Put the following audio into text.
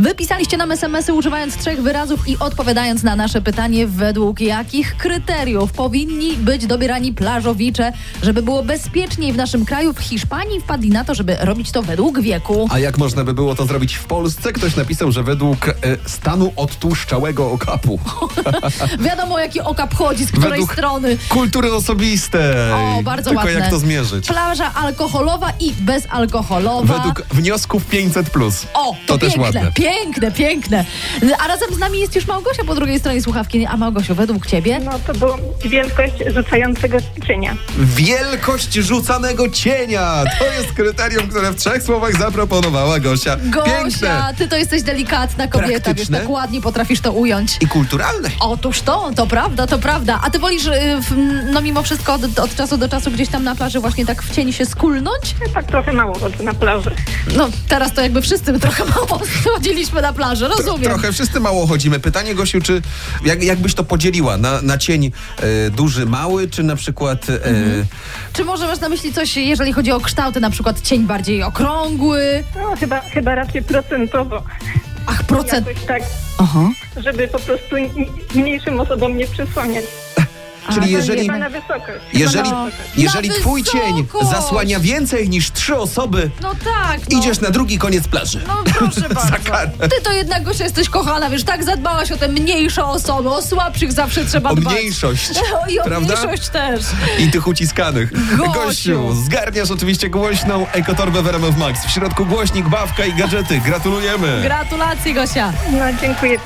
Wypisaliście nam SMS-y używając trzech wyrazów i odpowiadając na nasze pytanie, według jakich kryteriów powinni być dobierani plażowicze, żeby było bezpieczniej w naszym kraju. W Hiszpanii wpadli na to, żeby robić to według wieku. A jak można by było to zrobić w Polsce? Ktoś napisał, że według e, stanu odtłuszczałego okapu. Wiadomo, jaki okap chodzi, z której Według strony. Kultury osobistej. O, bardzo Tylko ładne. jak to zmierzyć? Plaża alkoholowa i bezalkoholowa. Według wniosków 500+. Plus. O, to też piękne, ładne. piękne, piękne. A razem z nami jest już Małgosia po drugiej stronie słuchawki. A Małgosiu, według ciebie? No to była wielkość rzucającego cienia. Wielkość rzucanego cienia. To jest kryterium, które w trzech słowach zaproponowała Gosia. Gosia, Piękne ty to jesteś delikatna kobieta, Praktyczne. wiesz, tak ładnie potrafisz to ująć. i kulturalne. Otóż to, to prawda, to prawda. A ty wolisz, y, w, no mimo wszystko, od, od czasu do czasu gdzieś tam na plaży właśnie tak w cień się skulnąć? Tak trochę mało wody na plaży. No teraz to jakby wszyscy trochę mało schodziliśmy na plażę, rozumiem. Trochę wszyscy mało chodzimy. Pytanie, Gosiu, czy jak, jakbyś to podzieliła na, na cień e, duży, mały, czy na przykład e, Mhm. Czy może masz na myśli coś, jeżeli chodzi o kształty, na przykład cień bardziej okrągły? No chyba, chyba raczej procentowo. Ach, procent... Jakoś tak, Aha. żeby po prostu ni- mniejszym osobom nie przysłaniać. A, czyli to jeżeli... Chyba na wysokość. Chyba Jeżeli, na No. wysokość. jeżeli Na twój cień wysokość. zasłania więcej niż trzy osoby, No tak, no. idziesz na drugi koniec plaży. No proszę Za bardzo. karę. Ty to jednak Gosia jesteś kochana, wiesz, tak zadbałaś o te mniejsze osoby, o słabszych zawsze trzeba O dbać. mniejszość. I o Prawda? mniejszość też. I tych uciskanych. Gosiu. Gościu, zgarniasz oczywiście głośną ekotorbę w RMF Max. W środku głośnik, bawka i gadżety. Gratulujemy. Gratulacje Gosia. No dziękuję.